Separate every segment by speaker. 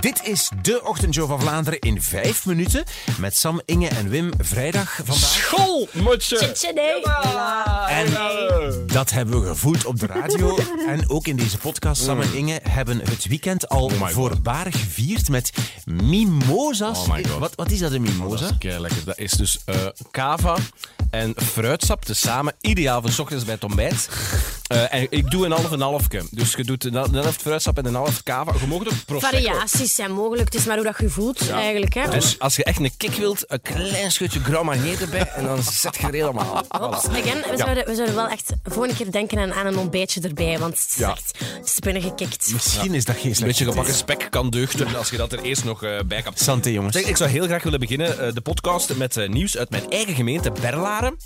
Speaker 1: Dit is de ochtendshow van Vlaanderen in vijf minuten. Met Sam, Inge en Wim vrijdag vandaag.
Speaker 2: Schoolmutje!
Speaker 3: Nee.
Speaker 1: En dat hebben we gevoeld op de radio. en ook in deze podcast. Sam en Inge hebben het weekend al
Speaker 2: God.
Speaker 1: voorbarig gevierd met mimosas.
Speaker 2: Oh my God.
Speaker 1: Wat, wat is dat, een mimosa?
Speaker 2: Dat is lekker. Dat is dus eh, kava en fruitsap tezamen. Ideaal voor 's ochtends bij het ontbijt. Eh, en ik doe een half en halfke. Dus je doet een, hal- een helft fruitsap en een half kava. Je mag ook prosecco.
Speaker 3: Variaties zijn mogelijk. Het is maar hoe dat je voelt eigenlijk. Hè.
Speaker 2: Dus als je echt een kick wilt, een klein schutje Grand Marnier erbij en dan zet je er helemaal.
Speaker 3: Ops,
Speaker 2: Voilà.
Speaker 3: again, we, zouden, we zouden wel echt volgende keer denken aan, aan een ontbijtje erbij, want het is
Speaker 2: Ja.
Speaker 3: echt het is binnengekikt.
Speaker 1: Misschien is dat geen
Speaker 2: Een
Speaker 1: slecht
Speaker 2: beetje gebakken spek kan deugden als je dat er eerst nog eh, bij kapt.
Speaker 1: Santé, jongens.
Speaker 2: Zeg, ik zou heel graag willen beginnen eh, de podcast met eh, nieuws uit mijn eigen gemeente, Berlaren.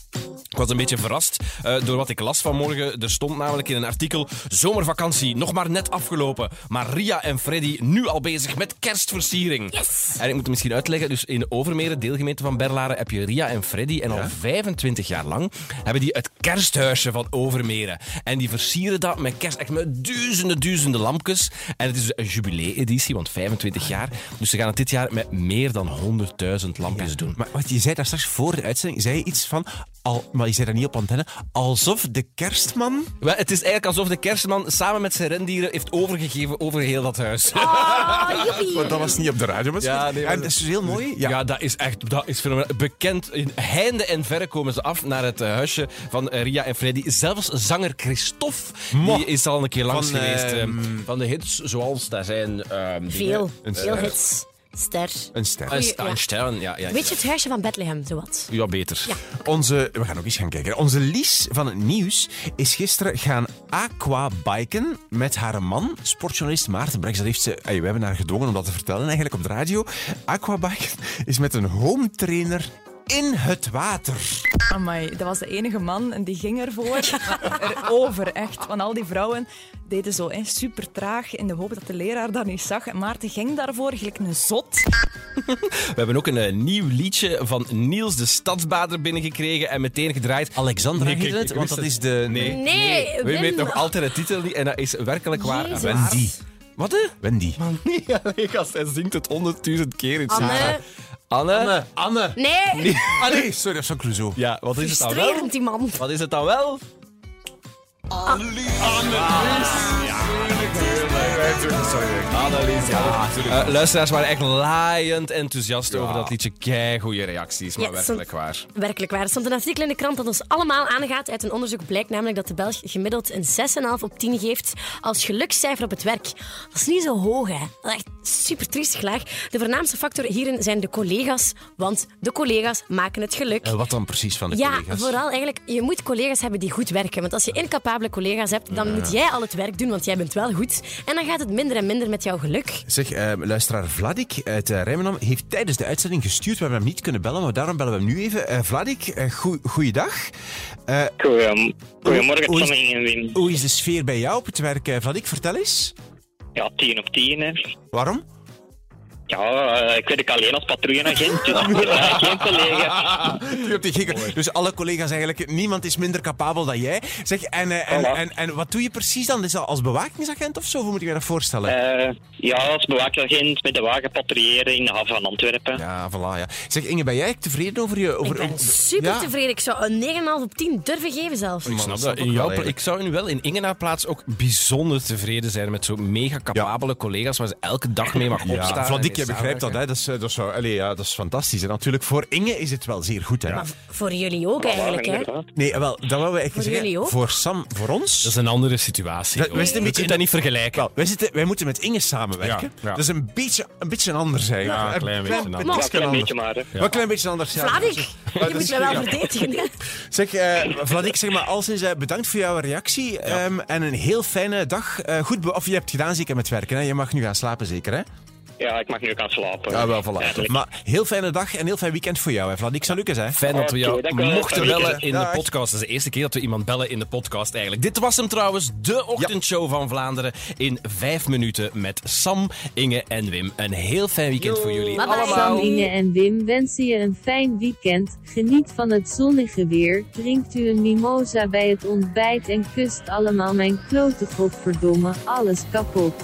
Speaker 2: Ik was een beetje verrast eh, door wat ik las vanmorgen. Er stond namelijk in een artikel: Zomervakantie nog maar net afgelopen. Maar Ria en Freddy nu al bezig met kerstversiering.
Speaker 3: Yes!
Speaker 2: En ik moet het misschien uitleggen. Dus in Overmere, deelgemeente van Berlaren, heb je Ria en Freddy. En al 25 jaar lang hebben die het kersthuisje van Overmere. En die versieren dat met kerst. Echt met duizenden, duizenden lampjes. En het is een jubilee-editie, want 25 jaar. Dus ze gaan het dit jaar met meer dan 100.000 lampjes doen.
Speaker 1: Maar wat je zei daar straks voor de uitzending, zei je iets van, al, maar je zei dat niet op antenne, alsof de kerstman...
Speaker 2: Wel, het is eigenlijk alsof de kerstman samen met zijn rendieren heeft overgegeven over heel dat huis.
Speaker 3: Ah, joepie.
Speaker 1: Want dat was niet op de radio, maar
Speaker 2: Ja, nee, maar
Speaker 1: en dat is dus heel mooi.
Speaker 2: Ja. dat is echt dat is fenomenaal. Bekend in heinde en verre komen ze af naar het eh, huisje van eh, Ria en Freddy. Zelfs zanger Christophe
Speaker 1: Mo.
Speaker 2: die is al een keer langs
Speaker 1: Van,
Speaker 2: geweest. eh,
Speaker 1: ehm,
Speaker 2: van de hits, zoals daar zijn... ehm,
Speaker 3: Veel,
Speaker 2: dingen.
Speaker 3: veel hits. Ster.
Speaker 1: Een ster.
Speaker 2: Een
Speaker 3: Goeie,
Speaker 2: sta- een stern, ja. ja,
Speaker 3: Weet je het huisje van Bethlehem, zowat?
Speaker 2: ja beter.
Speaker 1: Onze, we gaan ook eens gaan kijken. Onze Lies van het Nieuws is gisteren gaan aquabiken met haar man, sportjournalist Maarten Brex. Dat heeft ze, ey, we hebben haar gedwongen om dat te vertellen eigenlijk op de radio. Aquabiken is met een home trainer in het water.
Speaker 4: Amai, dat was de enige man en die ging ervoor. Erover, echt. Want al die vrouwen deden zo hè, super traag in de hoop dat de leraar dat niet zag. En Maarten ging daarvoor gelijk een zot.
Speaker 2: We hebben ook een eh, nieuw liedje van Niels de Stadsbader binnengekregen en meteen gedraaid.
Speaker 1: Alexandra
Speaker 2: Nee, kijk,
Speaker 1: heet het,
Speaker 2: ik
Speaker 1: want
Speaker 2: wist
Speaker 1: dat
Speaker 2: het.
Speaker 1: is de...
Speaker 2: Nee,
Speaker 3: Nee,
Speaker 2: We
Speaker 3: Wim.
Speaker 2: weten nog altijd de titel niet en dat is werkelijk waar.
Speaker 3: Jezus.
Speaker 1: Wendy.
Speaker 2: Wat hè?
Speaker 1: Wendy.
Speaker 2: Niet alleen als hij zingt het honderdduizend keer in
Speaker 3: Anne.
Speaker 2: Anne.
Speaker 1: Anne.
Speaker 3: Nee,
Speaker 1: Anne. Sorry, dat is van Clouseau.
Speaker 2: Ja, wat is het dan wel?
Speaker 3: frustrerend die man.
Speaker 2: Wat is het dan wel? Annelies. Ja, Eh, luisteraars waren echt laaiend enthousiast over dat liedje. Kei goede reacties, maar
Speaker 3: Ja, het
Speaker 2: werkelijk waar.
Speaker 3: Werkelijk waar. Er stond een artikel in de krant dat ons allemaal aangaat. Uit een onderzoek blijkt namelijk dat de Belg gemiddeld een 6,5 op 10 geeft als gelukscijfer op het werk. Dat is niet zo hoog, hè. Dat is echt super triestig laag. De voornaamste factor hierin zijn de collega's, want de collega's maken het geluk.
Speaker 1: En wat dan precies van de
Speaker 3: Ja,
Speaker 1: collega's?
Speaker 3: vooral eigenlijk, je moet collega's hebben die goed werken. Want als je incapabele collega's hebt, dan moet jij al het werk doen, want jij bent wel goed. En dan gaat het minder en minder met jouw geluk.
Speaker 1: Zeg, eh, luisteraar Vladik uit eh, Rijmenam heeft tijdens de uitzending gestuurd. We hebben hem niet kunnen bellen, maar daarom bellen we hem nu even. Eh, Vladik, eh, goe- goeiedag.
Speaker 5: Goedem- Goedemorgen,
Speaker 1: Hoe is-
Speaker 5: Tom en Wim.
Speaker 1: Hoe is de sfeer bij jou op het werk, eh, Vladik? Vertel eens.
Speaker 5: Ja, 10 op 10, hè.
Speaker 1: Waarom?
Speaker 5: Ja, eh, ik werk alleen als patrouilleagent, dus ik heb eigenlijk geen collega.
Speaker 1: U hebt die gekke- Dus alle collega's eigenlijk, niemand is minder capabel dan jij. Zeg, en, eh, en,
Speaker 5: Voilà.
Speaker 1: en, en wat doe je precies dan? Is dat als bewakingsagent of zo? Hoe moet ik me dat voorstellen?
Speaker 5: Eh, ja, als bewaakagent met de wagen patrouilleren in de haven van Antwerpen.
Speaker 1: Ja, voilà. Ja. Zeg, Inge, ben jij tevreden over je... Over,
Speaker 3: Ik ben
Speaker 1: over-
Speaker 3: super
Speaker 1: Ja?
Speaker 3: tevreden. Ik zou een 9,5 op 10 durven geven zelfs.
Speaker 2: Ik
Speaker 1: Maar
Speaker 2: snap
Speaker 1: dat
Speaker 2: dat.
Speaker 1: snap ik
Speaker 2: In jouw
Speaker 1: wel
Speaker 2: pla-
Speaker 1: eigenlijk.
Speaker 2: ik zou nu wel in Ingenaar plaats ook bijzonder tevreden zijn met zo'n mega capabele collega's waar ze elke dag mee mag opstaan.
Speaker 1: Ja,
Speaker 2: en
Speaker 1: Vladik, jij
Speaker 2: mee
Speaker 1: begrijpt dat,
Speaker 2: samenwerken.
Speaker 1: hè? Dat is, eh, dat, is, wel- allee, ja, dat is fantastisch. En natuurlijk, voor Inge is het wel zeer goed, hè?
Speaker 3: Maar voor jullie ook eigenlijk, hè?
Speaker 5: inderdaad.
Speaker 1: Nee, wel, dat willen we echt
Speaker 3: Voor
Speaker 1: zeggen.
Speaker 3: jullie ook?
Speaker 1: Voor Sam, voor ons.
Speaker 2: Dat is een andere situatie.
Speaker 1: Dat-
Speaker 2: hoor.
Speaker 1: wij zitten een
Speaker 2: Moet je
Speaker 1: beetje-
Speaker 2: dat niet vergelijken.
Speaker 1: Wel, wij, zitten, wij moeten met Inge samenwerken.
Speaker 2: Ja, ja.
Speaker 1: Dat is een beetje, een beetje anders, eigenlijk.
Speaker 2: Ja, een klein beetje
Speaker 1: een
Speaker 2: anders.
Speaker 5: Ja,
Speaker 1: beetje
Speaker 5: een klein
Speaker 1: anders.
Speaker 5: beetje maar. hè.
Speaker 1: Wel een klein beetje anders, ja.
Speaker 3: Vladik,
Speaker 1: dat
Speaker 3: je
Speaker 1: is
Speaker 3: moet mij wel
Speaker 1: goed,
Speaker 3: verdedigen.
Speaker 1: Zeg, eh, Vladik, zeg maar, alszins eh, bedankt voor jouw reactie. ehm, en een heel fijne dag. Eh, goed, be- of je hebt gedaan zeker met werken, hè? Je mag nu gaan slapen, zeker, hè?
Speaker 5: Ja, ik mag nu ook gaan slapen.
Speaker 1: Ja, Ah, wel, voilà.
Speaker 5: Eigenlijk.
Speaker 1: Maar heel fijne dag en heel fijn weekend voor jou, hè, Vladik. Zal Lucas, hè?
Speaker 2: Fijn dat we jou
Speaker 5: Oké, dank u wel.
Speaker 2: mochten
Speaker 5: Fijne
Speaker 2: bellen
Speaker 5: weekend.
Speaker 2: in
Speaker 1: Dag.
Speaker 2: de podcast. Dat is de eerste keer dat we iemand bellen in de podcast eigenlijk. Dit was hem trouwens, de ochtendshow van Vlaanderen. In vijf minuten met Sam, Inge en Wim. Een heel fijn weekend voor jullie.
Speaker 3: Bye bye.
Speaker 2: allemaal.
Speaker 6: Sam, Inge en Wim wensen je een fijn weekend. Geniet van het zonnige weer. Drinkt u een mimosa bij het ontbijt en kust allemaal mijn klote godverdomme. Alles kapot.